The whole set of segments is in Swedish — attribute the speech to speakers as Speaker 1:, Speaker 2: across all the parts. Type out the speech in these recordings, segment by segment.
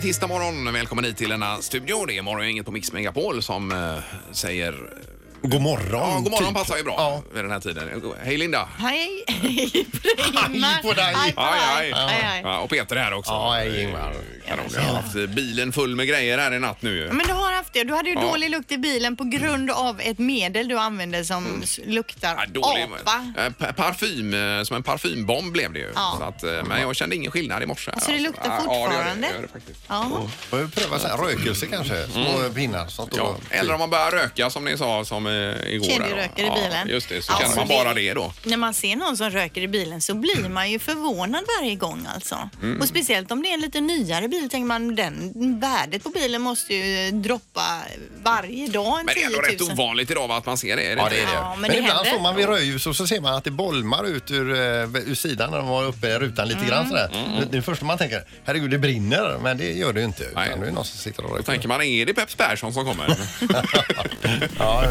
Speaker 1: tisdag morgon. Välkommen hit till denna studio. Det är morgon, inget på Mix Megapol som eh, säger...
Speaker 2: God morgon.
Speaker 1: Ja, god morgon
Speaker 2: typ.
Speaker 1: passar ju bra
Speaker 2: Ja.
Speaker 1: vid den här tiden. Hej Linda!
Speaker 3: Hej! Hej
Speaker 2: Hej på dig.
Speaker 1: Aj, aj.
Speaker 3: Aj, aj.
Speaker 1: Ja, och Peter är här också. Eh,
Speaker 2: Ja, hej, Ingmar.
Speaker 1: Kanon, jag har haft eh, bilen full med grejer här i natt nu ju.
Speaker 3: Men du har haft det. Du hade ju
Speaker 1: Ja.
Speaker 3: dålig lukt i bilen på grund av ett medel du använder som s- luktar
Speaker 1: Mm. Ja, dålig.
Speaker 3: apa.
Speaker 1: Eh, pa- Parfym, eh, som en parfymbomb blev det ju.
Speaker 3: Ja.
Speaker 1: Så att, eh, men jag kände ingen skillnad i morse.
Speaker 3: Så det luktar
Speaker 1: Ja, det gör det,
Speaker 3: fortfarande?
Speaker 1: det gör det faktiskt.
Speaker 3: Ja.
Speaker 2: Får vi pröva så här, rökelse kanske? Små pinnar. Sånt
Speaker 1: Mm. Ja, eller om man börjar röka som ni sa som eh, igår. där, va?
Speaker 3: Kedjeröker i bilen.
Speaker 1: Ja, just det, så
Speaker 3: Alltså,
Speaker 1: känner man bara det då.
Speaker 3: När man ser någon som röker i bilen så blir man ju förvånad varje gång alltså.
Speaker 1: Mm.
Speaker 3: Och speciellt om det är en lite nyare bil tänker man den värdet på bilen måste ju droppa varje dag en
Speaker 1: Men det är ändå rätt
Speaker 3: 10 000.
Speaker 1: ovanligt idag va, att man ser det. är
Speaker 2: Ja,
Speaker 1: inte?
Speaker 2: det är det.
Speaker 3: Ja, men
Speaker 2: men
Speaker 3: det
Speaker 2: ibland
Speaker 3: händer.
Speaker 2: står man vid rödljus och så ser man att det bolmar ut ur, eh, ur sidan när de var uppe i rutan
Speaker 3: Mm.
Speaker 2: lite grann sådär. Det, det första man tänker, herregud det brinner, men det gör det ju inte. Utan
Speaker 1: Nej.
Speaker 2: det är någon som sitter och
Speaker 1: Då
Speaker 2: röker.
Speaker 1: tänker man, är det Peps Persson som kommer?
Speaker 2: Ja, just det. Ja.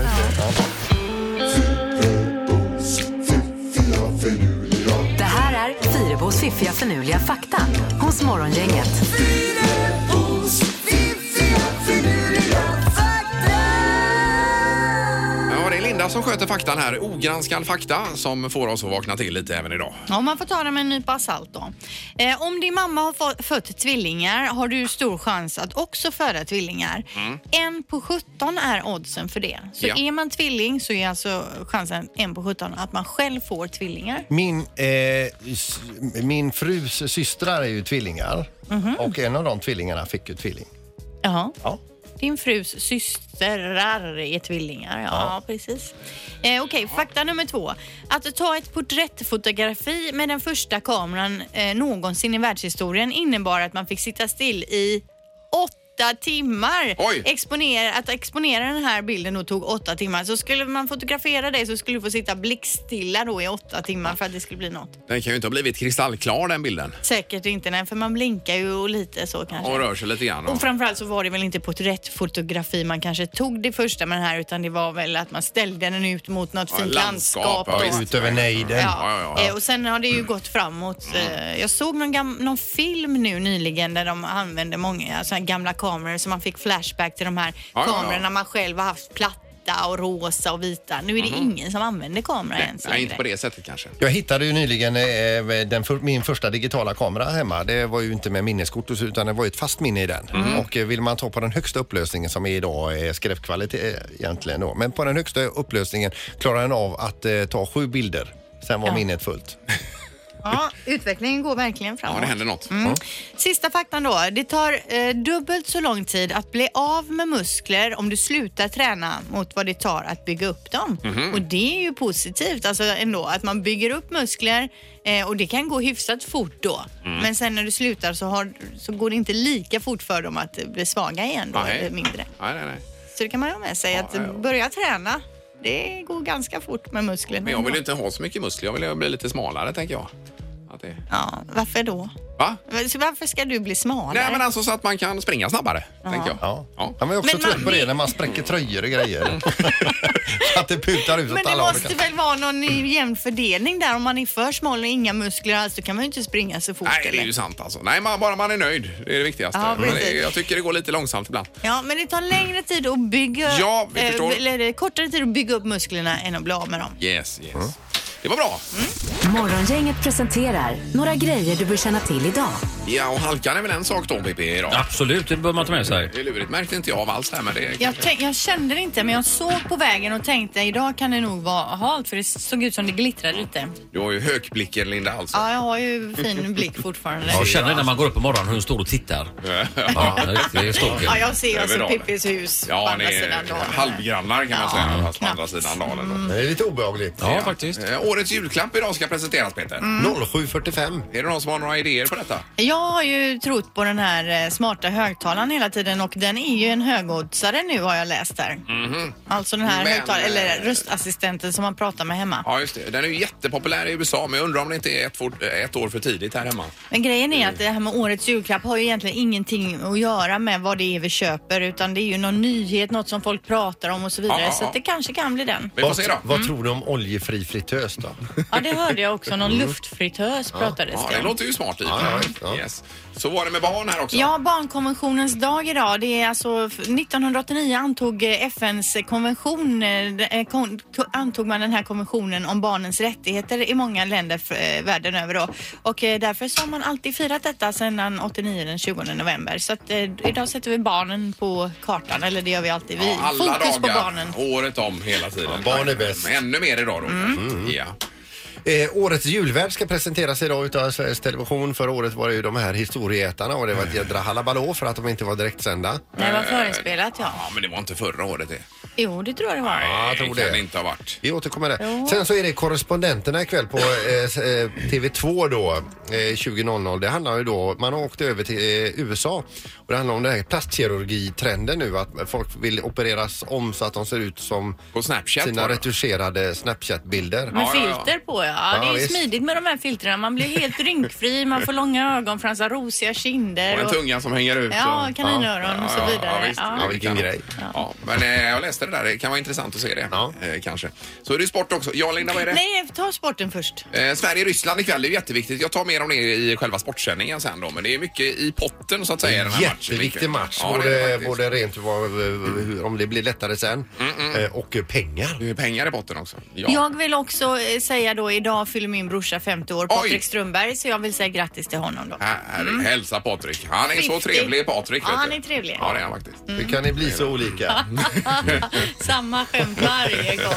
Speaker 4: Det här är Fyrabos fiffiga förnuliga fakta hos Morgongänget.
Speaker 1: ja, det är Linda som sköter faktan här. Ogranskad fakta som får oss att vakna till lite även idag.
Speaker 3: Ja, man får ta det med en nypa salt då. Eh, om din mamma har få- fött tvillingar har du stor chans att också föda tvillingar. En på 17 är oddsen för det. Så
Speaker 1: Ja.
Speaker 3: är man tvilling så är alltså chansen en på 17 att man själv får tvillingar.
Speaker 2: Min, eh, s- min frus systrar är ju tvillingar
Speaker 3: Mhm.
Speaker 2: och en av de tvillingarna fick ju tvilling.
Speaker 3: Jaha.
Speaker 2: Ja.
Speaker 3: Din frus systrar är tvillingar. Ja, precis. Eh, Okej, fakta nummer två. Att ta ett porträttfotografi med den första kameran eh, någonsin i världshistorien innebar att man fick sitta still i åtta timmar.
Speaker 1: Oj.
Speaker 3: Exponera, att exponera den här bilden då tog åtta timmar. Så skulle man fotografera dig så skulle du få sitta blickstilla då i åtta timmar för att det skulle bli något.
Speaker 1: Den kan ju inte ha blivit kristallklar den bilden.
Speaker 3: Säkert inte, nej, för man blinkar ju och lite så kanske.
Speaker 1: Och rör sig lite grann.
Speaker 3: Och framförallt så var det väl inte porträttfotografi man kanske tog det första med den här utan det var väl att man ställde den ut mot något
Speaker 1: Ja,
Speaker 3: fint landskap.
Speaker 1: ja,
Speaker 3: och-
Speaker 1: visst.
Speaker 2: Ut över nejden.
Speaker 1: Ja, ja, ja. Mm.
Speaker 3: Eh, Och sen har det ju gått framåt. Eh, Jag såg någon, gam- någon film nu nyligen där de använde många så här gamla kameror så man fick flashback till de här
Speaker 1: ja, ja.
Speaker 3: kamerorna man själv har haft platta och rosa och vita. Nu är det ingen som använder kamera
Speaker 1: Mhm. Nej,
Speaker 3: ens
Speaker 1: nej, inte på det sättet kanske.
Speaker 2: Jag hittade ju nyligen eh, den för, min första digitala kamera hemma. Det var ju inte med minneskort och så, utan det var ju ett fast minne i den.
Speaker 1: Mhm.
Speaker 2: Och eh, vill man ta på den högsta upplösningen som är idag eh, skräpkvalitet eh, egentligen då. Men på den högsta upplösningen klarar den av att eh, ta sju bilder. Sen var minnet fullt.
Speaker 3: Ja, utvecklingen går verkligen framåt.
Speaker 1: Ja, det händer något.
Speaker 3: Mm. Sista faktan då. Det tar eh, dubbelt så lång tid att bli av med muskler om du slutar träna mot vad det tar att bygga upp dem.
Speaker 1: Mhm.
Speaker 3: Och det är ju positivt alltså ändå att man bygger upp muskler eh, och det kan gå hyfsat fort då.
Speaker 1: Mm.
Speaker 3: Men sen när du slutar så, har, så går det inte lika fort för dem att eh, bli svaga igen då,
Speaker 1: Nej.
Speaker 3: eller mindre.
Speaker 1: Nej, nej, nej.
Speaker 3: Så det kan man ju ha med sig att
Speaker 1: ja, ja.
Speaker 3: börja träna. Det går ganska fort med musklerna.
Speaker 1: Men jag vill
Speaker 3: ändå.
Speaker 1: ju inte ha så mycket muskler. Jag vill ju bli lite smalare tänker jag. Att det...
Speaker 3: Ja, varför då?
Speaker 1: Va?
Speaker 3: Så varför ska du bli smalare?
Speaker 1: Nej, men alltså så att man kan springa snabbare, tänker jag.
Speaker 2: Ja.
Speaker 1: Ja.
Speaker 2: Han var ju också
Speaker 3: Men man- Mm.
Speaker 2: trött på det när man spräcker tröjor och grejer. att det putar ut åt
Speaker 3: Men det
Speaker 2: alla håll och
Speaker 3: måste
Speaker 2: kanter.
Speaker 3: väl vara någon jämn fördelning där. Om man är för smal och inga muskler alls, då kan man ju inte springa så fort.
Speaker 1: Nej, det är
Speaker 3: eller?
Speaker 1: ju sant alltså. Nej, man, bara man är nöjd. Det är det viktigaste.
Speaker 3: Ja,
Speaker 1: men det,
Speaker 3: precis.
Speaker 1: jag tycker det går lite långsamt ibland.
Speaker 3: Ja, men det tar längre tid att bygga...
Speaker 1: Ja, vi förstår.
Speaker 3: eh, Eller det är kortare tid att bygga upp musklerna än att bli av med dem.
Speaker 1: Yes, yes.
Speaker 2: Mm.
Speaker 1: Det var bra.
Speaker 4: Morgongänget presenterar några grejer du bör känna till idag.
Speaker 1: Ja, och halkan är väl en sak då, PP, idag?
Speaker 5: Absolut, det bör man ta med sig.
Speaker 1: Det är lurigt. Märkte inte jag av alls det här, men det...
Speaker 3: Jag, tänk, jag kände det inte, men jag såg på vägen och tänkte idag kan det nog vara halt för det såg ut som det glittrade lite.
Speaker 1: Du har ju hökblicken, Linda, alltså.
Speaker 3: Ja, jag har ju fin blick fortfarande.
Speaker 5: Jag känner när man går upp på morgonen hur hon står och tittar. Ja, det är stalker.
Speaker 3: Ja, jag ser alltså
Speaker 1: Överlag.
Speaker 3: Pippis hus på
Speaker 1: Ja,
Speaker 3: andra
Speaker 1: ni
Speaker 3: sidan
Speaker 1: är
Speaker 3: dalen.
Speaker 1: halvgrannar kan man säga, fast på
Speaker 3: knappt. Mm.
Speaker 1: andra sidan dalen. då.
Speaker 2: Det är lite obehagligt.
Speaker 5: Ja, faktiskt.
Speaker 1: Eh, årets julklapp idag ska presenteras, Peter.
Speaker 3: Mm.
Speaker 2: 07.45.
Speaker 1: Är det någon som har några idéer på detta?
Speaker 3: Jag har ju trott på den här eh, smarta högtalaren hela tiden och den är ju en högoddsare nu har jag läst här. Alltså den här
Speaker 1: Mhm. Men,
Speaker 3: högtalaren, eller
Speaker 1: eh,
Speaker 3: röstassistenten som man pratar med hemma.
Speaker 1: Ja, just det. Den är ju jättepopulär i USA, men jag undrar om det inte är ett, for, ett år för tidigt här hemma.
Speaker 3: Men grejen är att det här med årets julklapp har ju egentligen ingenting att göra med vad det är vi köper utan det är ju någon nyhet, något som folk pratar om och så vidare.
Speaker 1: Ja, ja,
Speaker 3: Så att det
Speaker 1: ja.
Speaker 3: kanske kan bli den.
Speaker 1: Vi får
Speaker 2: Vad,
Speaker 1: se då. Mm.
Speaker 2: vad tror du om oljefri fritös då?
Speaker 3: Ja, det hörde jag också. Någon luftfritös pratades
Speaker 1: Mm. Ja,
Speaker 3: det
Speaker 1: det
Speaker 3: om.
Speaker 1: låter ju smart i.
Speaker 2: Ja, ja, ja.
Speaker 1: Yes. Så var det med barn här också.
Speaker 6: Ja, barnkonventionens dag idag. Det är alltså 1989 antog eh, FNs konvention, eh, kon, ko- antog man den här konventionen om barnens rättigheter i många länder f- eh, världen över då. Och eh, därför så har man alltid firat detta sedan 89 den 20 november. Så att eh, idag sätter vi barnen på kartan, eller det gör vi alltid. Vi,
Speaker 1: Ja, alla
Speaker 6: fokus på
Speaker 1: dagar,
Speaker 6: barnen.
Speaker 1: året om hela tiden.
Speaker 2: Ja, barn är bäst. Mm.
Speaker 1: Men Ännu mer idag då. Ja.
Speaker 2: Eh, årets julvärd ska presenteras idag utav Sveriges Television. Förra året var det ju de här historieätarna och det var ett jädra halabalå för att de inte var direktsända.
Speaker 6: Det var förinspelat ja.
Speaker 1: ja, men det var inte förra året det.
Speaker 6: Jo, det tror jag det var.
Speaker 1: Nej,
Speaker 2: jag tror
Speaker 1: kan
Speaker 2: det.
Speaker 1: inte ha varit.
Speaker 2: Vi återkommer där.
Speaker 6: Jo.
Speaker 2: Sen så är det korrespondenterna ikväll på eh, s- eh, TV2 då, eh, 20.00. Det handlar ju då, man har åkt över till eh, USA och det handlar om den här plastkirurgitrenden nu att folk vill opereras om så att de ser ut som
Speaker 1: På Snapchat var
Speaker 2: sina
Speaker 1: det.
Speaker 2: retuscherade Snapchat-bilder.
Speaker 6: Med
Speaker 1: Ja, ja, ja.
Speaker 6: filter på ja.
Speaker 2: Ja,
Speaker 6: det är
Speaker 2: visst.
Speaker 6: smidigt med de här filtren. Man blir helt rynkfri, man får långa ögonfransar, rosiga
Speaker 1: Och
Speaker 6: kinder.
Speaker 1: en tunga som hänger ut.
Speaker 6: Ja,
Speaker 1: och-
Speaker 6: kaninöron och så
Speaker 1: Liksom. Ja,
Speaker 6: vidare.
Speaker 1: visst.
Speaker 2: Ja,
Speaker 6: Ja.
Speaker 2: vilken grej.
Speaker 1: Ja, men eh, jag läste det där. Det kan vara intressant att se det.
Speaker 2: Ja.
Speaker 1: Eh, kanske. Så är det sport också. Ja, Linda, vad är det?
Speaker 6: Nej, ta sporten först.
Speaker 1: Eh, Sverige-Ryssland ikväll, det är ju jätteviktigt. Jag tar mer om det i själva sportsändningen sen då. Men det är mycket i potten så att säga. i Den här matchen
Speaker 2: Jätteviktig
Speaker 1: ikväll.
Speaker 2: match,
Speaker 1: Ja, det är det
Speaker 2: både,
Speaker 1: faktiskt. Mm,
Speaker 2: både rent vad, hur- om det blir lättare sen eh, och pengar.
Speaker 1: Det är pengar i potten också. Ja.
Speaker 6: Jag vill också eh, säga då, idag fyller min brorsa 50 år,
Speaker 1: Oj.
Speaker 6: Patrik Strömberg, så jag vill säga grattis till honom då.
Speaker 1: Här, här, Hälsa Patrik. Han är så
Speaker 6: 50.
Speaker 1: trevlig Patrik.
Speaker 6: Mm. Ja,
Speaker 1: vet
Speaker 6: han
Speaker 1: du.
Speaker 6: är trevlig.
Speaker 1: Ja, det är han faktiskt.
Speaker 2: Hur kan ni bli så olika?
Speaker 6: Samma skämt varje gång.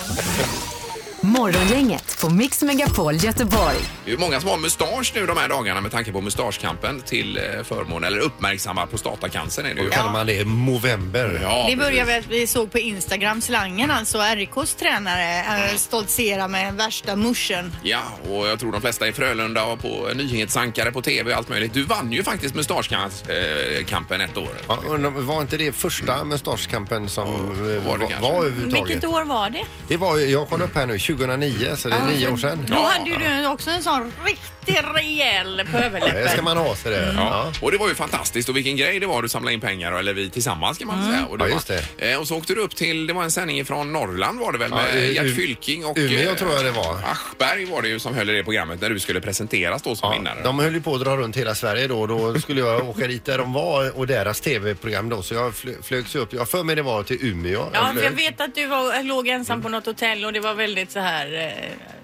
Speaker 4: Morgongänget på Mix Megapol Göteborg.
Speaker 1: Det är ju många som har mustasch nu de här dagarna med tanke på mustaschkampen till eh, förmån, eller uppmärksamma prostatacancern är det ju.
Speaker 2: Kallar man det Movember?
Speaker 1: Ja,
Speaker 6: Det börjar
Speaker 1: precis.
Speaker 6: väl att vi såg på Instagram, slangen alltså, RKs tränare eh, stoltsera med värsta muschen.
Speaker 1: Ja, och jag tror de flesta i Frölunda och på nyhetsankare på tv och allt möjligt. Du vann ju faktiskt mustaschkampen eh, ett år.
Speaker 2: Ja, undrar, var inte det första mustaschkampen som eh,
Speaker 1: var
Speaker 2: var,
Speaker 1: det
Speaker 2: var,
Speaker 1: kanske.
Speaker 2: överhuvudtaget?
Speaker 6: Vilket år var det?
Speaker 2: Det var, jag kollade upp här nu, 2009, så det är nio år sedan.
Speaker 6: Då hade ju du också en sån riktig rejäl på
Speaker 2: Det ska
Speaker 6: överläppen.
Speaker 2: man ha, så det. Ja.
Speaker 1: Och det var ju fantastiskt och vilken grej det var du samlade in pengar eller vi tillsammans kan man
Speaker 6: Mm.
Speaker 1: säga. Och
Speaker 2: Ja,
Speaker 1: var-
Speaker 2: just det.
Speaker 1: Eh, Och så åkte du upp till, det var en sändning från Norrland var det väl med
Speaker 2: Ja, U-
Speaker 1: Gert
Speaker 2: U-
Speaker 1: Fylking och...
Speaker 2: Umeå
Speaker 1: eh,
Speaker 2: tror jag det var.
Speaker 1: Aschberg var det ju som höll i det programmet när du skulle presenteras då som vinnare.
Speaker 2: De höll ju på att dra runt hela Sverige då och då skulle jag åka dit där de var och deras tv-program då så jag fl- flögs upp. Jag har för mig det var till Umeå.
Speaker 3: Ja, för jag
Speaker 2: flög.
Speaker 3: vet att du var, låg ensam på något hotell och det var väldigt så här... Eh,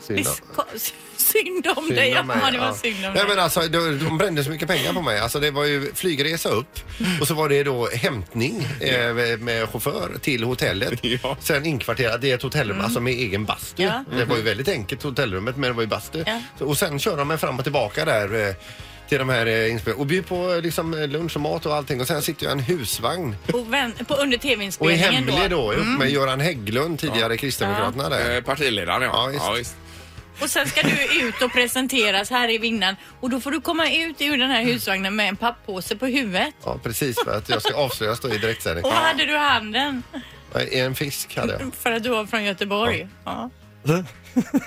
Speaker 2: Synd om-
Speaker 3: vis- ko- s- synd om
Speaker 2: Synd
Speaker 3: dig.
Speaker 2: om mig,
Speaker 3: Ja, det var
Speaker 2: ja.
Speaker 3: synd om
Speaker 2: Nej,
Speaker 3: dig.
Speaker 2: men alltså, de, de brände så mycket pengar på mig. Alltså, det var ju flygresa upp och så var det då hämtning eh, med chaufför till hotellet.
Speaker 1: Ja.
Speaker 2: Sen inkvarterat i ett hotellrum, alltså med egen bastu.
Speaker 3: Mm. Ja.
Speaker 2: Det var ju väldigt enkelt hotellrummet men det var ju bastu.
Speaker 3: Ja.
Speaker 2: Så, och sen körde de mig fram och tillbaka där eh, till de här eh, inspelningarna och bjöd på eh, liksom, eh, lunch och mat och allting och sen sitter jag i en husvagn
Speaker 3: Och vän, på, under
Speaker 2: och är
Speaker 3: tv-inspelningen
Speaker 2: hemlig
Speaker 3: då.
Speaker 2: då ihop med Göran Hägglund, tidigare Kristdemokraterna där.
Speaker 1: Eh, Partiledaren ja.
Speaker 2: Ja, visst.
Speaker 3: Och sen ska du ut och presenteras här i vinnaren. Och då får du komma ut ur den
Speaker 2: Mm.
Speaker 3: här husvagnen med en papppåse på huvudet.
Speaker 2: Ja, precis för att jag ska avslöjas då i direktsändning. Eh,
Speaker 3: Och vad hade du i handen?
Speaker 2: En fisk hade jag.
Speaker 3: För att du var från Göteborg. Ja.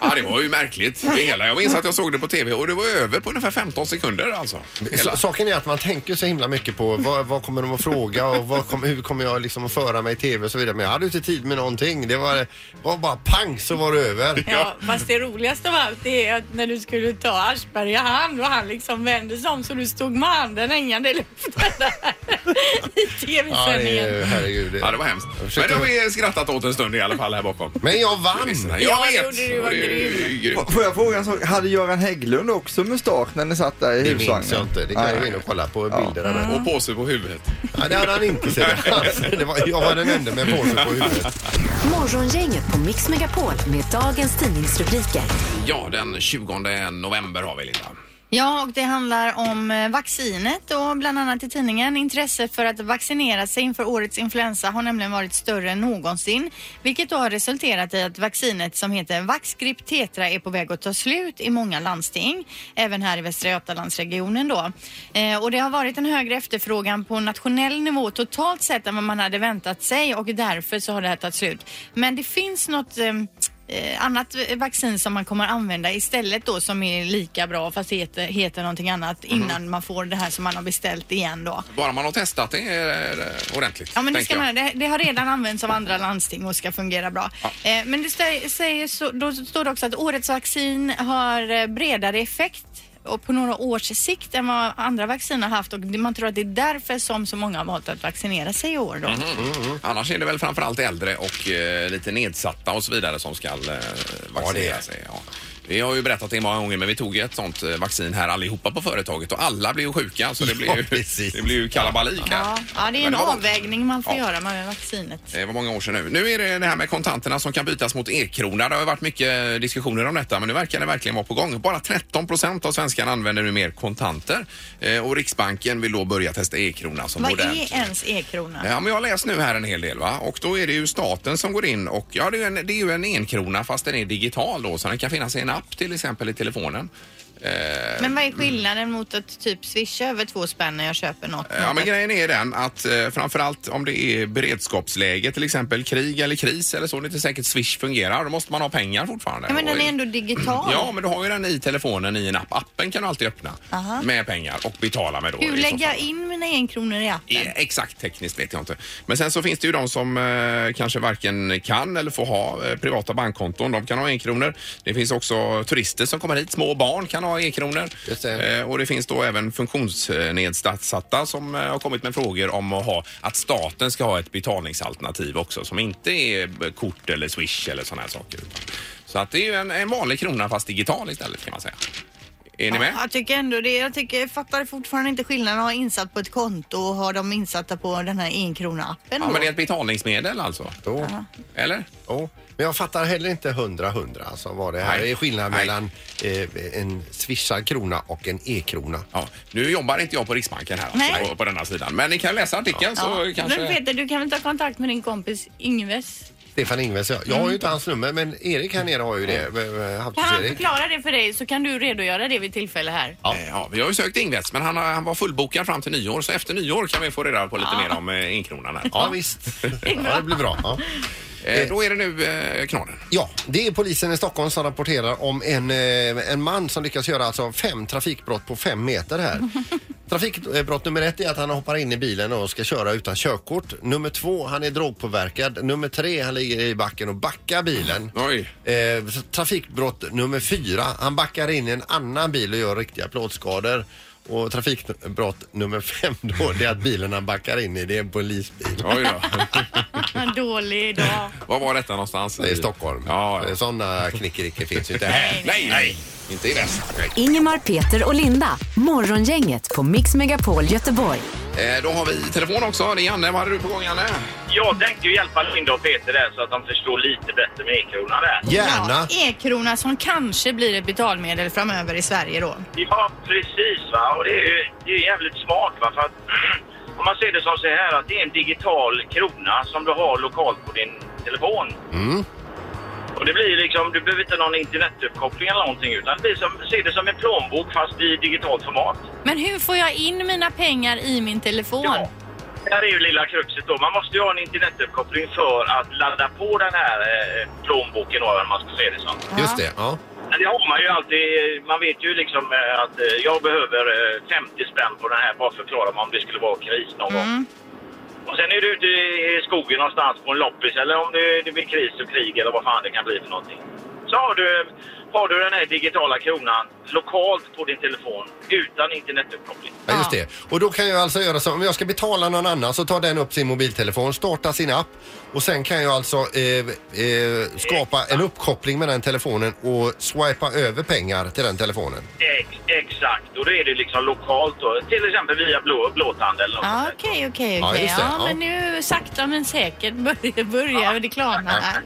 Speaker 1: Ja, det var ju märkligt det hela. Jag minns att jag såg det på tv och det var över på ungefär 15 sekunder alltså.
Speaker 2: S-
Speaker 1: Hela.
Speaker 2: Saken är att man tänker så himla mycket på vad, vad kommer de att fråga och vad kom, hur kommer jag liksom att föra mig i TV och så vidare. Men jag hade ju inte tid med någonting. Det var, var bara pang så var det över.
Speaker 3: Ja. fast det roligaste av allt är att när du skulle ta Aschberg i hand och han liksom vände sig om så du stod med handen hängande i luften där i
Speaker 2: Ja, det
Speaker 3: tv-sändningen.
Speaker 2: är, herregud.
Speaker 1: Ja, det var hemskt. Men
Speaker 2: försökte-
Speaker 1: det har vi skrattat åt en stund i alla fall här bakom.
Speaker 2: Men jag vann!
Speaker 1: Jag
Speaker 3: Ja,
Speaker 1: vet!
Speaker 3: det gjorde du, vad
Speaker 1: Det är ju grymt.
Speaker 7: Får jag fråga en sak? Hade Göran Hägglund också mustasch när ni satt där i
Speaker 2: Det
Speaker 7: husvagnen?
Speaker 2: minns jag inte. Det kan jag gå in och kolla på bilderna. där.
Speaker 1: Och påse på huvudet.
Speaker 2: Ja, det hade han inte. ser du. Alltså, Det var, jag var den enda med påse på huvudet.
Speaker 4: Morgongänget på Mix Megapol med dagens tidningsrubriker.
Speaker 1: Ja, den 20 november har vi Linda.
Speaker 6: Ja, och det handlar om eh, vaccinet och bland annat i tidningen. Intresset för att vaccinera sig inför årets influensa har nämligen varit större än någonsin, vilket då har resulterat i att vaccinet som heter Vaxgrip Tetra är på väg att ta slut i många landsting, även här i Västra Götalandsregionen då. Eh, och det har varit en högre efterfrågan på nationell nivå totalt sett än vad man hade väntat sig och därför så har det här tagit slut. Men det finns något eh, eh, annat vaccin som man kommer använda istället då som är lika bra fast heter, heter någonting annat
Speaker 1: Mhm.
Speaker 6: innan man får det här som man har beställt igen då.
Speaker 1: Bara man har testat det eh, ordentligt.
Speaker 6: Ja, men det,
Speaker 1: tänker
Speaker 6: ska
Speaker 1: jag.
Speaker 6: man, det, det har redan använts av andra landsting och ska fungera bra. Eh, men det stä- säger så, då står det också att årets vaccin har eh, bredare effekt och på några års sikt än vad andra vacciner har haft och man tror att det är därför som så många har valt att vaccinera sig i år då.
Speaker 1: Mhm. Annars är det väl framförallt äldre och eh, lite nedsatta och så vidare som ska eh, vaccinera sig. Ja. Vi har ju berättat det många gånger men vi tog ju ett sånt eh, vaccin här allihopa på företaget och alla blev ju sjuka så det blev ju,
Speaker 2: precis.
Speaker 1: det blev ju kalabalik här.
Speaker 6: Ja, ja det är
Speaker 1: Men
Speaker 6: en
Speaker 1: var-
Speaker 6: avvägning man får
Speaker 1: Ja.
Speaker 6: göra med vaccinet.
Speaker 1: Det var många år sedan nu. Nu är det det här med kontanterna som kan bytas mot e-krona. Det har ju varit mycket eh, diskussioner om detta men nu verkar det verkligen vara på gång. Bara 13 procent av svenskarna använder nu mer kontanter eh, och Riksbanken vill då börja testa e-krona som
Speaker 6: Vad
Speaker 1: modernt.
Speaker 6: är ens e-krona?
Speaker 1: Ja, men jag har läst nu här en hel del va? och då är det ju staten som går in och ja, det är ju en, det är ju en enkrona fast den är digital då så den kan finnas i en app till exempel i telefonen.
Speaker 6: Men vad är skillnaden mot att typ swisha över två spänn när jag köper något?
Speaker 1: Ja, men grejen är den att eh, framförallt om det är beredskapsläge till exempel krig eller kris eller så, det är inte säkert Swish fungerar, då måste man ha pengar fortfarande.
Speaker 6: ja, men den
Speaker 1: Och-
Speaker 6: är ändå digital.
Speaker 1: Ja, men du har ju den i telefonen i en app. Appen kan du alltid öppna
Speaker 6: Aha.
Speaker 1: med pengar och betala med då. i
Speaker 6: Hur
Speaker 1: så
Speaker 6: lägger
Speaker 1: fall.
Speaker 6: jag in mina enkronor i appen?
Speaker 1: Eh, Exakt tekniskt vet jag inte. Men sen så finns det ju de som eh, kanske varken kan eller får ha eh, privata bankkonton. De kan ha enkronor. Det finns också turister som kommer hit. Små barn kan ha enkronor.
Speaker 2: Just det.
Speaker 1: Eh, och det finns då även funktionsnedsatta som eh, har kommit med frågor om att, ha, att staten ska ha ett betalningsalternativ också som inte är eh, kort eller swish eller sådana här saker. Så att det är ju en, en vanlig krona fast digital istället kan man säga. Är ni med?
Speaker 6: Ja, jag tycker ändå det. Jag, tycker, jag fattar fortfarande inte skillnaden att ha insatt på ett konto och ha dem insatta på den här enkrona-appen.
Speaker 1: Ja,
Speaker 6: då.
Speaker 1: men det är ett betalningsmedel alltså?
Speaker 2: Jo,
Speaker 1: Eller?
Speaker 2: jo. Men jag fattar heller inte hundra hundra alltså vad det här
Speaker 1: Nej.
Speaker 2: är skillnad
Speaker 1: Nej.
Speaker 2: mellan eh, en swishad krona och en e-krona.
Speaker 1: Ja, nu jobbar inte jag på Riksbanken här alltså,
Speaker 6: Nej.
Speaker 1: på, på denna sidan. Men ni kan läsa artikeln så
Speaker 3: Men
Speaker 1: kanske...
Speaker 3: Peter, du kan väl ta kontakt med din kompis Ingves?
Speaker 2: Stefan Ingves, jag, jag har ju inte hans nummer men Erik här nere har ju det. Eh,
Speaker 3: Mm. Kan han
Speaker 2: Hampus-Erik.
Speaker 3: förklara det för dig så kan du redogöra det vid tillfälle här.
Speaker 1: Ja. Ja, vi har ju sökt Ingves men han, har- han var fullbokad fram till nyår så efter nyår kan vi få reda på lite mer om eh, inkronan här.
Speaker 2: Ja visst, ja, det blir bra. Ja.
Speaker 1: Eh, då är det nu eh, knorren.
Speaker 2: Ja, det är polisen i Stockholm som rapporterar om en, eh, en man som lyckas göra alltså fem trafikbrott på fem meter här. Trafikbrott nummer ett är att han hoppar in i bilen och ska köra utan körkort. Nummer två, han är drogpåverkad. Nummer tre, han ligger i backen och backar bilen.
Speaker 1: Oj.
Speaker 2: Eh, trafikbrott nummer fyra, han backar in i en annan bil och gör riktiga plåtskador. Och trafikbrott nummer fem då, det är att bilen han backar in i, det är en polisbil.
Speaker 1: Oj då.
Speaker 3: Dålig dag.
Speaker 1: Var var detta någonstans?
Speaker 2: Det är Stockholm.
Speaker 1: Ja, ja.
Speaker 2: Sådana knickerickor finns ju inte här.
Speaker 1: Nej, nej. Inte i väst. Nej.
Speaker 4: Ingemar, Peter och Linda. Morgongänget på Mix Megapol Göteborg.
Speaker 1: Eh, då har vi telefon också. Det är Janne. Vad hade du på gång, Janne?
Speaker 8: Jag tänkte ju hjälpa Linda och Peter där så att de förstår lite bättre med e-kronan där.
Speaker 2: Gärna.
Speaker 6: Ja, e-krona som kanske blir ett betalmedel framöver i Sverige då.
Speaker 8: Ja, precis va. Och det är ju det är jävligt smart va. För att, om man ser det som så här att det är en digital krona som du har lokalt på din telefon. Och det blir ju liksom, du behöver inte någon internetuppkoppling eller någonting utan det blir som, ser det som en plånbok fast i digitalt format.
Speaker 3: Men hur får jag in mina pengar i min telefon?
Speaker 8: Ja. Det här är ju lilla kruxet då. Man måste ju ha en internetuppkoppling för att ladda på den här eh, plånboken då, om man ska se det som.
Speaker 2: Just det, ja.
Speaker 8: Men det har man ju alltid. Man vet ju liksom eh, att eh, jag behöver eh, 50 spänn på den här bara för att klara mig om det skulle vara kris någon gång. Och sen är du ute i skogen någonstans på en loppis eller om det, det blir kris och krig eller vad fan det kan bli för någonting. Så har du, har du den här digitala kronan lokalt på din telefon utan internetuppkoppling.
Speaker 2: Ja, just det. Och då kan jag alltså göra så om jag ska betala någon annan så tar den upp sin mobiltelefon, startar sin app och sen kan jag alltså eh, eh, skapa en uppkoppling med den telefonen och swipa över pengar till den telefonen.
Speaker 8: Ex, exakt, och då är det liksom lokalt då. Till exempel via blå, blåtandel. eller något
Speaker 6: Ja,
Speaker 8: sånt där.
Speaker 6: Okej, okej,
Speaker 2: Ja,
Speaker 6: okej.
Speaker 2: just det,
Speaker 6: Ja,
Speaker 2: ja.
Speaker 6: men nu sakta men säkert börjar, börjar det klarna här.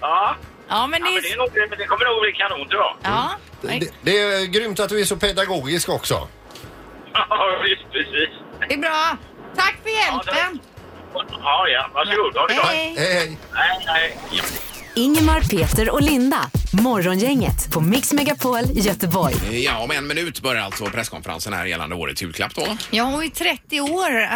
Speaker 8: Ja,
Speaker 3: Ja, men
Speaker 8: ja men,
Speaker 3: det
Speaker 8: det är
Speaker 3: är...
Speaker 8: nog, men det kommer nog bli kanon tror jag.
Speaker 3: Ja.
Speaker 2: Mm. Det, det är grymt att du är så pedagogisk också.
Speaker 8: Ja, visst, precis.
Speaker 6: Det är bra. Tack för hjälpen.
Speaker 8: Ja, ja. Varsågod. Ha det gott.
Speaker 6: Hej.
Speaker 2: Hej, hej.
Speaker 8: Nej, nej.
Speaker 4: Ingemar, Peter och Linda. Morgongänget på Mix Megapol Göteborg.
Speaker 1: Eh, Ja, om en minut börjar alltså presskonferensen här gällande årets julklapp då.
Speaker 6: Ja, och i 30 år eh,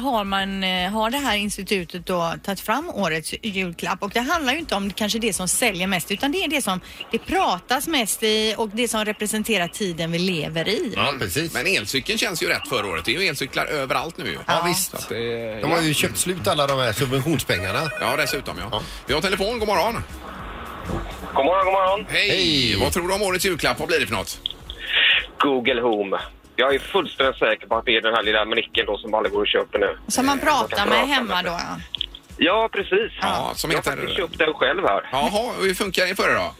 Speaker 6: har, man, eh, har det här institutet då tagit fram årets julklapp och det handlar ju inte om kanske det som säljer mest utan det är det som det pratas mest i och det som representerar tiden vi lever i.
Speaker 2: Ja, precis.
Speaker 1: Men elcykeln känns ju rätt förra året. Det är ju elcyklar överallt nu ju.
Speaker 2: Ja, visst. De har ju köpt slut alla de här subventionspengarna.
Speaker 1: Ja, dessutom ja. Vi har telefon. God morgon.
Speaker 8: God morgon, god morgon.
Speaker 1: Hej.
Speaker 2: Hej.
Speaker 1: Vad tror du om årets julklapp? Vad blir det för något?
Speaker 9: Google Home. Jag är fullständigt säker på att det är den här lilla manicken då som alla går och köper nu.
Speaker 6: Som man pratar
Speaker 9: kan
Speaker 6: med
Speaker 9: prata
Speaker 6: hemma
Speaker 9: med.
Speaker 6: då. ja.
Speaker 9: Ja, precis.
Speaker 1: Ja, som
Speaker 9: jag
Speaker 1: heter-
Speaker 9: har faktiskt köpt den själv här.
Speaker 1: Jaha, hur funkar det för dig då?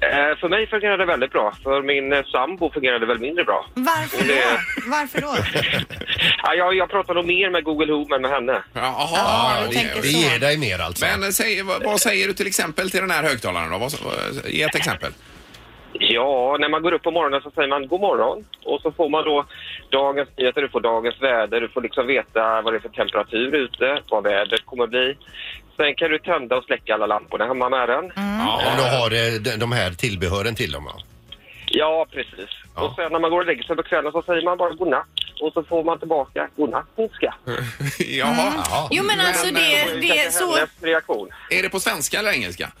Speaker 9: Eh, för mig fungerade det väldigt bra. För min eh, sambo fungerade det väl mindre bra.
Speaker 6: Varför då? Varför då?
Speaker 9: Ja, jag, jag pratar nog mer med Google Home än med henne.
Speaker 1: Jaha,
Speaker 6: Ja,
Speaker 1: ja,
Speaker 6: du
Speaker 1: det-
Speaker 6: tänker
Speaker 2: Det
Speaker 6: så.
Speaker 2: ger dig mer alltså.
Speaker 1: Men eh, säg, vad, vad säger du till exempel till den här högtalaren då? Vad, vad- ge ett exempel.
Speaker 9: Ja, när man går upp på morgonen så säger man god morgon. Och så får man då dagens nyheter, du får dagens väder, du får liksom veta vad det är för temperatur ute, vad vädret kommer bli. Sen kan du tända och släcka alla lamporna hemma med den.
Speaker 1: Mm.
Speaker 2: Om du har eh, de- de här tillbehören till dem. ja.
Speaker 9: Ja, precis.
Speaker 2: Ja.
Speaker 9: Och sen när man går och lägger sig på kvällen så säger man bara godnatt. Och så får man tillbaka godnatt, finska.
Speaker 1: Jaha.
Speaker 6: Jo men alltså det,
Speaker 1: eh,
Speaker 6: det är så...
Speaker 9: Hennes reaktion.
Speaker 1: Är det på svenska eller engelska?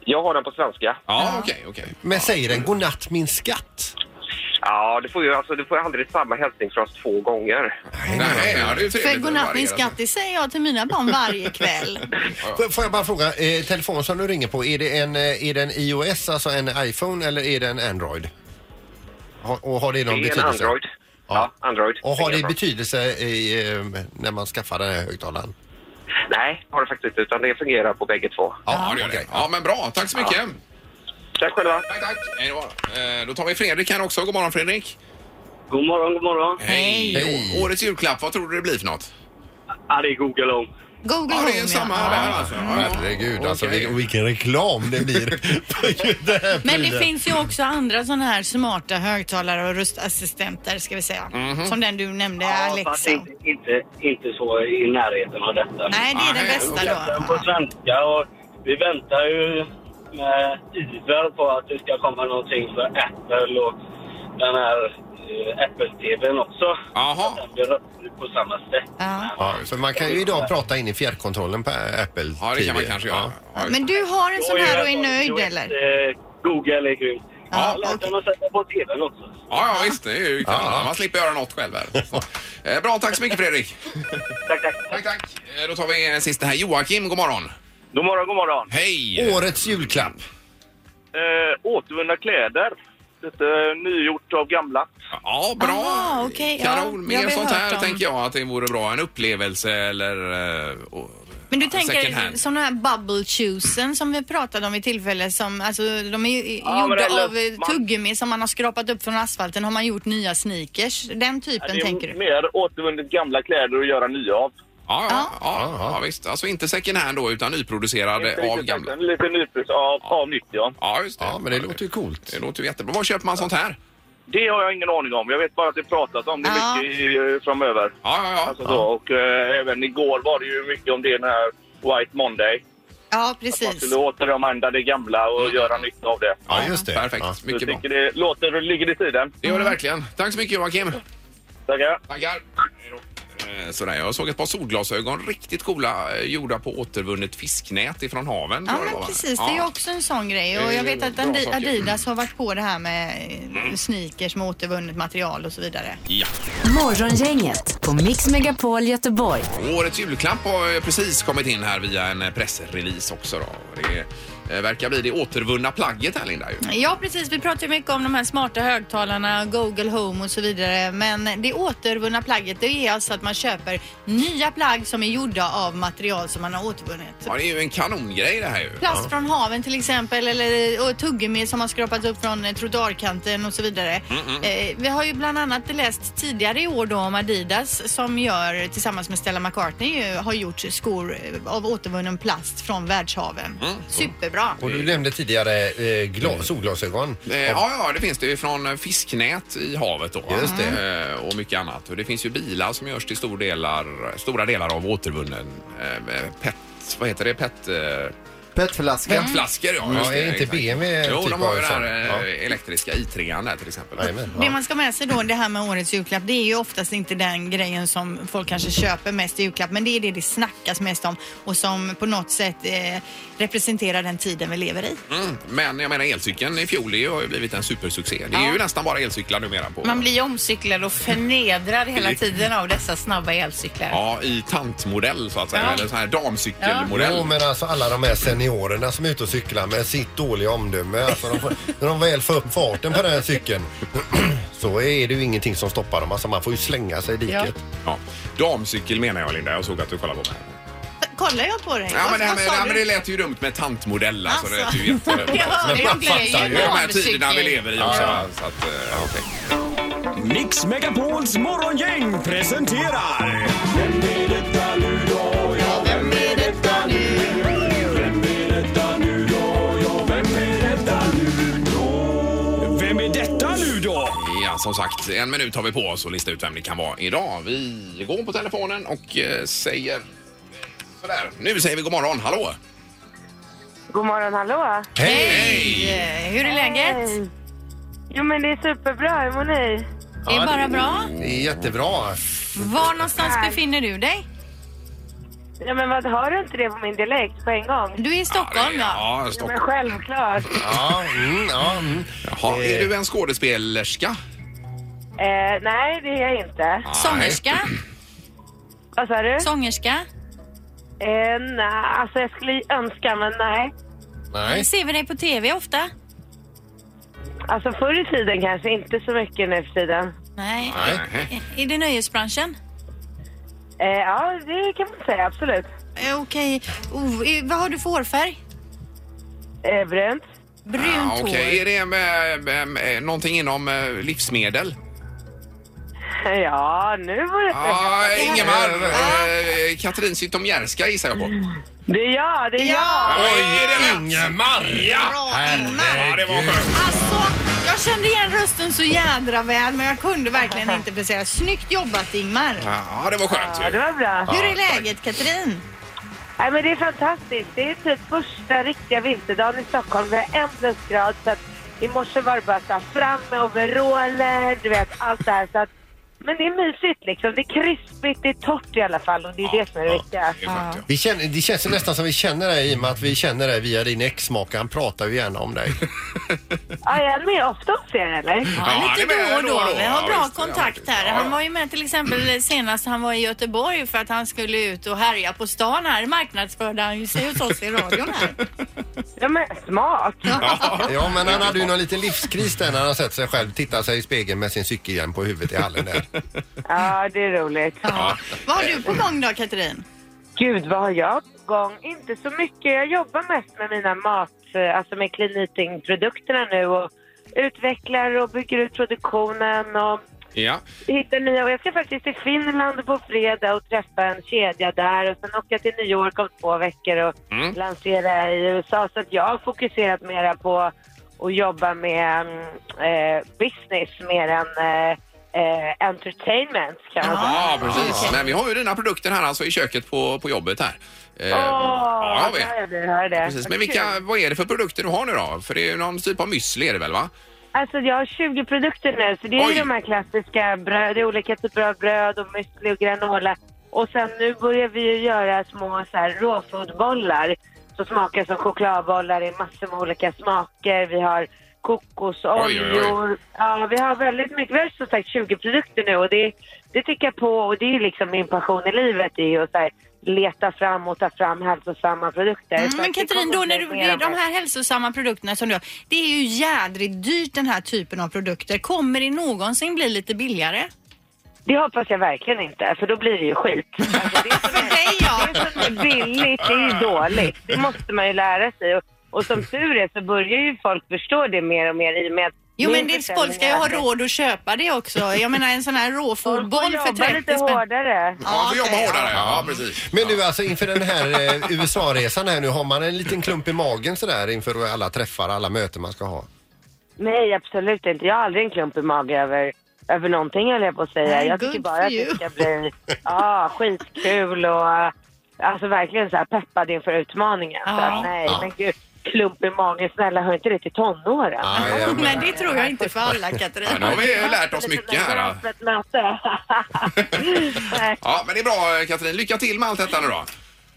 Speaker 9: Jag har den på svenska.
Speaker 1: Ja, okej, okej.
Speaker 2: Men säger den godnatt min skatt?
Speaker 9: Ja, du får ju alltså, du får ju aldrig samma hälsning från oss två gånger.
Speaker 1: Nej, ja, det är ju trevligt.
Speaker 6: För godnatt min skatt, det säger jag till mina barn varje kväll.
Speaker 2: Får- Får jag bara fråga, eh, telefonen som du ringer på, är det, en, eh, är det en iOS, alltså en iPhone eller är det en Android? Har- och har det någon
Speaker 9: det är en
Speaker 2: betydelse?
Speaker 9: Android. Ja, Android.
Speaker 2: Och har det
Speaker 9: Inga problem.
Speaker 2: betydelse i, eh, när man skaffar den här högtalaren?
Speaker 9: Nej, har det faktiskt inte, utan det fungerar på bägge två.
Speaker 1: Ja, det gör det. Ja, men bra. Tack så mycket.
Speaker 9: Tack själva.
Speaker 1: Tack, tack. Hej då. Eh, Då tar vi Fredrik här också. God morgon Fredrik.
Speaker 5: God morgon, god morgon.
Speaker 1: Hej. Å- Årets julklapp, vad tror du det blir för något?
Speaker 5: Ja, det är Google Home.
Speaker 6: Google
Speaker 1: Ja, det är
Speaker 6: Home,
Speaker 1: samma
Speaker 6: ja.
Speaker 1: där alltså. Ja,
Speaker 2: Herregud, alltså
Speaker 1: okej.
Speaker 2: vil- vilken reklam det blir. för den här
Speaker 6: Men det
Speaker 2: prylen.
Speaker 6: finns ju också andra sådana här smarta högtalare och röstassistenter ska vi säga. Som den du nämnde,
Speaker 5: fast
Speaker 6: Alexa.
Speaker 5: inte, inte, inte så i närheten av detta.
Speaker 6: Nej, det är den
Speaker 1: Nej,
Speaker 6: bästa
Speaker 5: Jag
Speaker 6: då.
Speaker 5: den på svenska och vi väntar ju med iver på att det ska komma någonting för Apple och den här eh, Apple-TVn också.
Speaker 1: Jaha.
Speaker 5: Den blir röstfri på samma sätt.
Speaker 6: Ja.
Speaker 2: Ja, så man kan ju idag prata in i fjärrkontrollen på ä, Apple
Speaker 1: Ja, det
Speaker 2: TV.
Speaker 1: kan man kanske göra. Ja,
Speaker 6: Men du har en sån här och är nöjd eller?
Speaker 5: Eh, Google är grymt.
Speaker 6: Ja,
Speaker 5: Jag lät
Speaker 6: okej.
Speaker 5: den att sätta på TVn också.
Speaker 1: ja, visst. Det är ju kanon. Man slipper göra något själv här. Så. Eh, Bra, tack så mycket Fredrik.
Speaker 5: Tack, tack.
Speaker 1: Tack, tack. Eh, Då tar vi en sista här. Joakim, god morgon.
Speaker 5: God morgon, god morgon.
Speaker 1: Hej!
Speaker 2: Årets julklapp.
Speaker 5: Eh, återvunna kläder. Lite nygjort av gamla.
Speaker 1: Ja, bra.
Speaker 6: Aha, okej, ja.
Speaker 1: Kanon.
Speaker 6: Jag
Speaker 1: Mer
Speaker 6: har
Speaker 1: sånt
Speaker 6: hört
Speaker 1: här
Speaker 6: om-
Speaker 1: tänker jag att det vore bra. En upplevelse eller... eh, och-
Speaker 6: Men du
Speaker 1: ja, second
Speaker 6: tänker
Speaker 1: hand.
Speaker 6: såna här bubble choesen som vi pratade om i tillfälle som, alltså de är ju
Speaker 5: Ja, men
Speaker 6: gjorda
Speaker 5: eller-
Speaker 6: av eh,
Speaker 5: man-
Speaker 6: tuggummi som man har skrapat upp från asfalten har man gjort nya sneakers. Den typen
Speaker 5: det är
Speaker 6: tänker du?
Speaker 5: mer återvunnit gamla kläder och göra nya av.
Speaker 1: Ja, ja, ja, ja, visst. Alltså inte second hand då, utan nyproducerade av gamla.
Speaker 5: Lite nypris av, av nytt, ja.
Speaker 1: Ja, just det.
Speaker 2: Ja, men det låter ju coolt.
Speaker 1: Det låter ju jättebra. Var köper man sånt här?
Speaker 5: Det har jag ingen aning om. Jag vet bara att det pratas om det
Speaker 6: Ja.
Speaker 5: mycket i- framöver.
Speaker 1: Ja, ja, ja.
Speaker 5: Alltså så. Och eh, även igår var det ju mycket om det den här White Monday.
Speaker 6: Ja,
Speaker 5: Man
Speaker 6: precis.
Speaker 5: skulle återanvända det gamla och göra nytta av det.
Speaker 2: Ja, just det.
Speaker 1: Perfekt.
Speaker 2: Ja.
Speaker 1: Mm. Mycket
Speaker 5: jag
Speaker 1: bra.
Speaker 5: tycker det låter och ligger i tiden.
Speaker 1: Det gör det verkligen. Tack så mycket Joakim.
Speaker 5: Tackar.
Speaker 1: Tackar. Eh, Sådär, jag såg ett par solglasögon riktigt coola eh, gjorda på återvunnet fisknät ifrån haven.
Speaker 6: Ja
Speaker 1: tror jag det
Speaker 6: men
Speaker 1: var.
Speaker 6: precis, det
Speaker 1: Ja.
Speaker 6: är också en sån grej
Speaker 1: Det
Speaker 6: och
Speaker 1: är
Speaker 6: jag vet att
Speaker 1: bra
Speaker 6: Adi-
Speaker 1: saker.
Speaker 6: Adidas har varit på det här med
Speaker 5: Mm.
Speaker 6: eh, sneakers med återvunnet material och så vidare.
Speaker 1: Ja.
Speaker 4: Morgongänget på Mix Megapol Göteborg.
Speaker 1: Årets julklapp har eh, precis kommit in här via en eh, pressrelease också. Då. Det eh, verkar bli det återvunna plagget här Linda. Ju.
Speaker 6: Ja precis, vi pratar ju mycket om de här smarta högtalarna, Google Home och så vidare. Men det återvunna plagget det är alltså att man köper nya plagg som är gjorda av material som man har återvunnit.
Speaker 1: Ja, det är ju en kanongrej det här ju.
Speaker 6: Plast från haven till exempel eller och tuggummi som har skrapat upp från eh, trottoarkanten och så vidare. Eh, vi har ju bland annat läst tidigare i år då om Adidas som gör tillsammans med Stella McCartney ju, har gjort skor eh, av återvunnen plast från världshaven. Superbra.
Speaker 2: Och du nämnde tidigare eh, glas, solglasögon.
Speaker 1: Eh, Ja, ja, Mm. det finns det ju från eh, fisknät i havet då.
Speaker 2: Just
Speaker 1: det. Och mycket annat. Och det finns ju bilar som görs till stor delar, stora delar av återvunnen eh, pet, vad heter det, pet, eh,
Speaker 7: Petflaska.
Speaker 1: petflaskor. Ja,
Speaker 2: Ja,
Speaker 1: just det,
Speaker 2: är inte
Speaker 1: exakt.
Speaker 2: BMW
Speaker 1: Jo,
Speaker 2: typ
Speaker 1: de har
Speaker 2: av
Speaker 1: ju den
Speaker 2: sån?
Speaker 1: här
Speaker 2: Ja.
Speaker 1: eh, elektriska i3an där till exempel.
Speaker 2: Jajamän,
Speaker 6: Det
Speaker 2: ja.
Speaker 6: man ska med sig då, det här med årets julklapp, det är ju oftast inte den grejen som folk kanske köper mest i julklapp, men det är det det snackas mest om och som på något sätt eh, representerar den tiden vi lever i.
Speaker 1: Mm, men jag menar elcykeln i fjol det har ju blivit en supersuccé. Det är ju nästan bara elcyklar numera på.
Speaker 10: Man blir ju omcyklad och förnedrad hela tiden av dessa snabba elcyklar.
Speaker 1: Ja, i tantmodell så att säga.
Speaker 10: Ja.
Speaker 1: Eller sån här damcykelmodell.
Speaker 2: Jo, men alltså alla de här seniorerna som är ute och cyklar med sitt dåliga omdöme. Alltså, de får, när de väl får upp farten på den här cykeln så är det ju ingenting som stoppar dem. Alltså man får ju slänga sig i diket.
Speaker 1: Ja. Damcykel menar jag Linda. Jag såg att du kollade på mig.
Speaker 6: Kollar jag på dig?
Speaker 1: Ja, men det, här
Speaker 6: Vad
Speaker 1: med,
Speaker 6: sa
Speaker 1: ja,
Speaker 6: du?
Speaker 1: men det lät ju dumt med tantmodell. Alltså, Det lät ju
Speaker 6: Alltså.
Speaker 1: jättedumt.
Speaker 6: Jag hörde ju,
Speaker 1: man
Speaker 6: det blev ju
Speaker 1: fattar De här
Speaker 6: damcykel.
Speaker 1: tiderna vi lever i också. va? Så att, eh, okej.
Speaker 11: Mix Megapols morgongäng presenterar... Vem är detta nu då? Ja, vem är detta nu? Vem är detta nu då? Ja, vem är detta nu då? Vem är detta nu då?
Speaker 1: Ja, som sagt, en minut har vi på oss att lista ut vem det kan vara idag. Vi går på telefonen och eh, säger sådär. Nu säger vi god morgon. Hallå!
Speaker 8: God morgon, hallå!
Speaker 1: Hej!
Speaker 8: Hur är läget? Jo, men det är superbra. Hur mår ni?
Speaker 3: Det är bara bra.
Speaker 2: Det är jättebra.
Speaker 3: Var någonstans befinner du dig?
Speaker 8: Ja, men vad, hör du inte det på min dialekt på en gång?
Speaker 3: Du är i Stockholm, ja.
Speaker 1: Ja,
Speaker 8: Ja,
Speaker 1: stopp.
Speaker 8: men självklart.
Speaker 2: Ja, mm, ja. Mm.
Speaker 1: Jaha, är du en skådespelerska?
Speaker 8: Eh, nej, det är jag inte.
Speaker 3: Sångerska?
Speaker 8: Vad sa du?
Speaker 3: Sångerska?
Speaker 8: Eh, nej, alltså jag skulle önska, men nej.
Speaker 2: Nej.
Speaker 3: Ser vi dig på TV ofta?
Speaker 8: Alltså förr i tiden kanske, inte så mycket nu för tiden.
Speaker 3: Nej.
Speaker 1: Nej.
Speaker 3: Är det nöjesbranschen?
Speaker 8: Eh, ja, det kan man säga, absolut.
Speaker 3: Eh, Okej. Oh, eh, vad har du för hårfärg?
Speaker 8: Eh, brunt.
Speaker 3: Brunt
Speaker 1: Ja,
Speaker 3: hår.
Speaker 1: Ah, Okej, är det med, med, någonting inom eh, livsmedel?
Speaker 8: Ja, nu var det...
Speaker 1: Ja, Ah, Ingemar! eh, Katrin Zytomierska gissar jag på.
Speaker 8: Det är jag, det är jag!
Speaker 1: Oj, är det rätt?
Speaker 2: Ingemar!
Speaker 1: Ja! Ja, det var skönt.
Speaker 6: Alltså, Jag kände igen rösten så jädra väl men jag kunde verkligen inte placera. Snyggt jobbat Ingmar!
Speaker 1: Ja, det var skönt
Speaker 8: Ja, det var bra.
Speaker 6: Hur är läget Katrin?
Speaker 8: Nej, men det är fantastiskt. Det är typ första riktiga vinterdagen i Stockholm. Vi har en plusgrad. Så att i morse var det bara så här fram med overaller, du vet allt det här. Så att, men det är mysigt liksom. Det är krispigt, det är torrt i alla fall och det är det som är det viktiga.
Speaker 2: Vi känner, det känns ju nästan som vi känner dig i och med att vi känner dig via din exmake. Han pratar ju gärna om dig.
Speaker 8: Ja, jag är med ofta hos er eller?
Speaker 3: Ja, lite
Speaker 1: det är
Speaker 3: då och
Speaker 1: väl
Speaker 3: då.
Speaker 1: då och då.
Speaker 3: Vi har
Speaker 1: Ja,
Speaker 3: bra
Speaker 1: visst, ja,
Speaker 3: kontakt här. Han var ju med till exempel senast han var i Göteborg för att han skulle ut och härja på stan här. Marknadsförde han ju sig hos oss i radion här.
Speaker 8: Ja, men smart.
Speaker 2: Ja, men han hade ju någon liten livskris där när han sett sig själv titta sig i spegeln med sin cykelhjälm på huvudet i hallen där.
Speaker 8: Ja, det är roligt.
Speaker 6: Vad har du på gång då Katrin?
Speaker 8: Gud, vad har jag på gång? Inte så mycket. Jag jobbar mest med mina mat, eh, alltså med clean eating-produkterna nu och utvecklar och bygger ut produktionen och
Speaker 1: Ja.
Speaker 8: hittar nya. Och jag ska faktiskt till Finland på fredag och träffa en kedja där och sen åka till New York om två veckor och
Speaker 1: Mm.
Speaker 8: lansera i USA. Så att jag har fokuserat mera på att jobba med mm, eh, business mer än eh, eh, entertainment kan man säga.
Speaker 1: Ja, precis. Men vi har ju dina produkter här alltså i köket på, på jobbet här. Eh,
Speaker 8: Åh,
Speaker 1: ja, vi.
Speaker 8: hör det, hör det.
Speaker 1: Precis. Men
Speaker 8: Vad
Speaker 1: vilka,
Speaker 8: kul.
Speaker 1: vad är det för produkter du har nu då? För det är ju någon typ av müsli är det väl va?
Speaker 8: Alltså jag har 20 produkter nu, så det är
Speaker 1: Oj.
Speaker 8: ju de här klassiska bröd, det är olika typer av bröd och müsli och granola. Och sen nu börjar vi ju göra små så här råfoodbollar som smakar som chokladbollar i massor med olika smaker. Vi har kokosoljor. Ja, vi har väldigt mycket, vi har som sagt 20 produkter nu och det, det tycker jag på och det är liksom min passion i livet, det är ju att så här, leta fram och ta fram hälsosamma produkter.
Speaker 6: Mm,
Speaker 8: Så
Speaker 6: men
Speaker 8: att det
Speaker 6: Katrin,
Speaker 8: kommer
Speaker 6: då när
Speaker 8: bli
Speaker 6: du,
Speaker 8: mer och
Speaker 6: de
Speaker 8: mer.
Speaker 6: här hälsosamma produkterna som du har, det är ju jädrigt dyrt den här typen av produkter. Kommer det någonsin bli lite billigare?
Speaker 8: Det hoppas jag verkligen inte, för då blir det ju skit. Alltså, det, som är, det som är billigt, det är ju dåligt. Det måste man ju lära sig. Och, och som tur är så börjar ju folk förstå det mer och mer i och med att
Speaker 6: Jo
Speaker 8: min
Speaker 6: men det,
Speaker 8: försäljning
Speaker 6: folk ska ju ha
Speaker 8: ökar.
Speaker 6: råd att köpa det också. Jag menar en sån här råfodboll
Speaker 8: Folk
Speaker 6: för
Speaker 8: får
Speaker 6: 30
Speaker 8: jobba
Speaker 6: spänn.
Speaker 8: lite hårdare.
Speaker 1: Ja, man får jobba
Speaker 6: okej,
Speaker 1: hårdare. Ja, precis.
Speaker 2: Men du, alltså inför den här eh, USA-resan här nu, har man en liten klump i magen sådär inför alla träffar, alla möten man ska ha?
Speaker 8: Nej, absolut inte. Jag har aldrig en klump i magen över, över någonting, höll jag på att säga.
Speaker 6: Nej,
Speaker 8: Jag
Speaker 6: good
Speaker 8: tycker bara
Speaker 6: for
Speaker 8: att
Speaker 6: you.
Speaker 8: det ska bli ja, skitkul och äh, alltså verkligen så här peppad inför utmaningen. Så
Speaker 6: Ja.
Speaker 8: att, nej,
Speaker 2: Ja.
Speaker 8: men gud. Klump i magen, snälla hör inte det till tonåren?
Speaker 2: Nej, jag
Speaker 6: Nej det tror jag inte för alla Katrin.
Speaker 1: Ja, nu har vi ju lärt oss
Speaker 8: typ
Speaker 1: mycket här.
Speaker 8: För ett möte.
Speaker 1: Ja, men det är bra Katrin. Lycka till med allt detta nu då.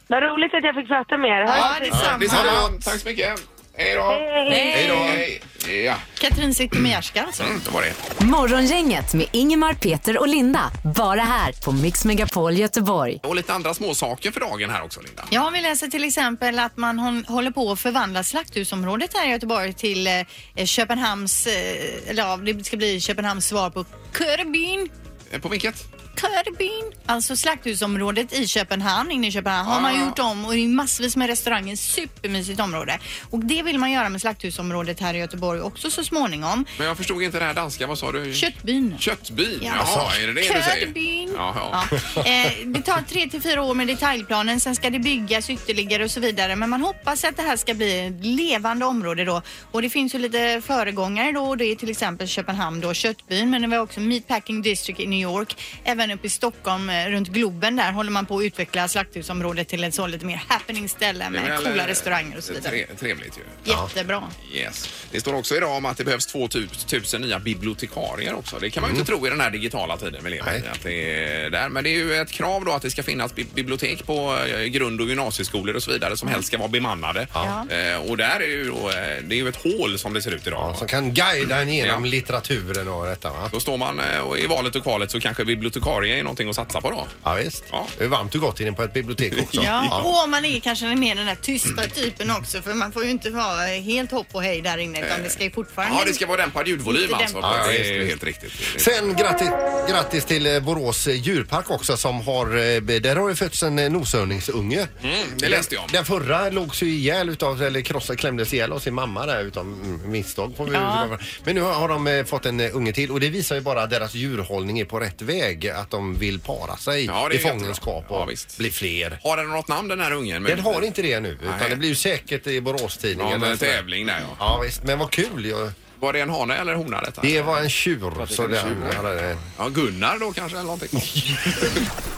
Speaker 8: Vad roligt att jag fick prata med er. Ha
Speaker 6: Ja,
Speaker 8: det så fint.
Speaker 6: detsamma.
Speaker 1: Detsamma. Tack så mycket. Hej då.
Speaker 8: Hej.
Speaker 1: Hej då. Ja,
Speaker 6: Katrin Zytomierska alltså.
Speaker 1: det var det.
Speaker 4: Morgongänget med Ingemar, Peter och Linda. Bara här på Mix Megapol Göteborg.
Speaker 1: Och lite andra små saker för dagen här också, Linda.
Speaker 6: Ja, vi läser till exempel att man hon, håller på att förvandla slakthusområdet här i Göteborg till eh, Köpenhamns, eh, eller ja, det ska bli Köpenhamns svar på Körbyn.
Speaker 1: Eh, På vilket?
Speaker 6: Körbyn, alltså slakthusområdet i Köpenhamn, inne i Köpenhamn, har man gjort om och i massvis med restauranger. Supermysigt område. Och det vill man göra med slakthusområdet här i Göteborg också så småningom.
Speaker 1: Men jag förstod inte det här danska. Vad sa du?
Speaker 6: Köttbyn.
Speaker 1: Köttbyn?
Speaker 6: Ja.
Speaker 1: Jaha, är det det du säger?
Speaker 6: Köttbyn.
Speaker 1: Jaha.
Speaker 6: Ja. Eh, det tar tre till fyra år med detaljplanen, sen ska det byggas ytterligare och så vidare. Men man hoppas att det här ska bli ett levande område då. Och det finns ju lite föregångare då och det är till exempel Köpenhamn då, Köttbyn, men det var också Meatpacking District i New York. Även uppe i Stockholm, eh, runt Globen där, håller man på att utveckla slakthusområdet till ett så lite mer happening-ställe
Speaker 1: Det är
Speaker 6: med
Speaker 1: väl,
Speaker 6: coola
Speaker 1: eh,
Speaker 6: restauranger och så vidare.
Speaker 1: tre- Trevligt ju.
Speaker 6: Jättebra.
Speaker 1: Yes. Det står också idag om att det behövs 2000 nya bibliotekarier också. Det kan man ju inte tro i den här digitala tiden vi lever i. Att det är där. Men det är ju ett krav då att det ska finnas bi- bibliotek på eh, grund och gymnasieskolor och så vidare som helst ska vara bemannade.
Speaker 2: Ja.
Speaker 1: Eh, Och där är ju då, eh, det är ju ett hål som det ser ut idag.
Speaker 2: Som kan guida en genom
Speaker 1: Ja.
Speaker 2: litteraturen och detta va?
Speaker 1: Då står man eh, och i valet och kvalet så kanske bibliotekarie är någonting att satsa på då.
Speaker 2: Ja visst. Det är varmt och gott inne på ett bibliotek också.
Speaker 6: Ja, och om man är kanske mer den där tysta typen också för man får ju inte vara helt hopp och hej där inne utan det ska ju fortfarande...
Speaker 1: Eh. Ja, det ska vara dämpad ljudvolym
Speaker 6: Lite
Speaker 1: alltså.
Speaker 6: dämpad.
Speaker 1: det
Speaker 2: Ja,
Speaker 1: är
Speaker 2: visst,
Speaker 1: helt riktigt.
Speaker 2: Sen grattis, grattis till eh, Borås eh, djurpark också som har, eh, där har det fötts en eh, noshörningsunge.
Speaker 1: Mm, det läste jag om.
Speaker 2: Den, den förra logs ju ihjäl utav, eller krossade, klämdes ihjäl av sin mamma där utav mm, misstag. På,
Speaker 1: Ja.
Speaker 2: Men nu har de eh, fått en eh, unge till och det visar ju bara att deras djurhållning är på rätt väg. Att de vill para sig
Speaker 1: Ja, det
Speaker 2: i
Speaker 1: är
Speaker 2: fångenskap
Speaker 1: jättebra. Ja,
Speaker 2: och bli fler.
Speaker 1: Har den något namn den här ungen?
Speaker 2: Den har inte det nu utan
Speaker 1: Nej.
Speaker 2: det blir ju säkert i Borås-tidningen.
Speaker 1: Ja, men
Speaker 2: eller
Speaker 1: en
Speaker 2: sådär.
Speaker 1: tävling där ja.
Speaker 2: Ja visst, men vad kul. Jag...
Speaker 1: Var det en hane eller hona detta?
Speaker 2: Det var en tjur.
Speaker 1: det
Speaker 2: Så
Speaker 1: kan
Speaker 2: det, eh,
Speaker 1: tjur.
Speaker 2: ja, det-
Speaker 1: Ja, Gunnar då kanske eller någonting.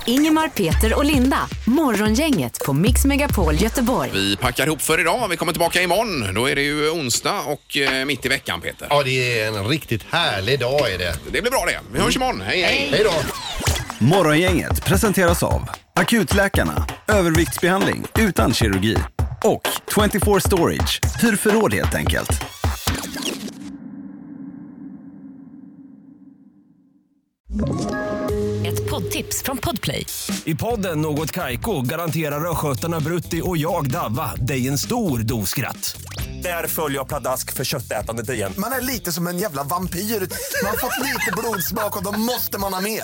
Speaker 4: Ingemar, Peter och Linda. Morgongänget på Mix Megapol Göteborg.
Speaker 1: Vi packar ihop för idag. Vi kommer tillbaka imorgon. Då är det ju onsdag och eh, mitt i veckan Peter.
Speaker 2: Ja, det är en riktigt härlig dag är det.
Speaker 1: Det blir bra det. Vi hörs imorgon. Hej hej!
Speaker 2: Hej då!
Speaker 12: Morgongänget presenteras av Akutläkarna, överviktsbehandling utan kirurgi och 24 Storage, hur förråd helt enkelt.
Speaker 13: Ett poddtips från Podplay.
Speaker 11: I podden Något Kaiko garanterar östgötarna Brutti och jag, Davva, dig en stor dos skratt. Där följer jag pladask för köttätandet igen.
Speaker 14: Man är lite som en jävla vampyr. Man har fått lite blodsmak och då måste man ha mer.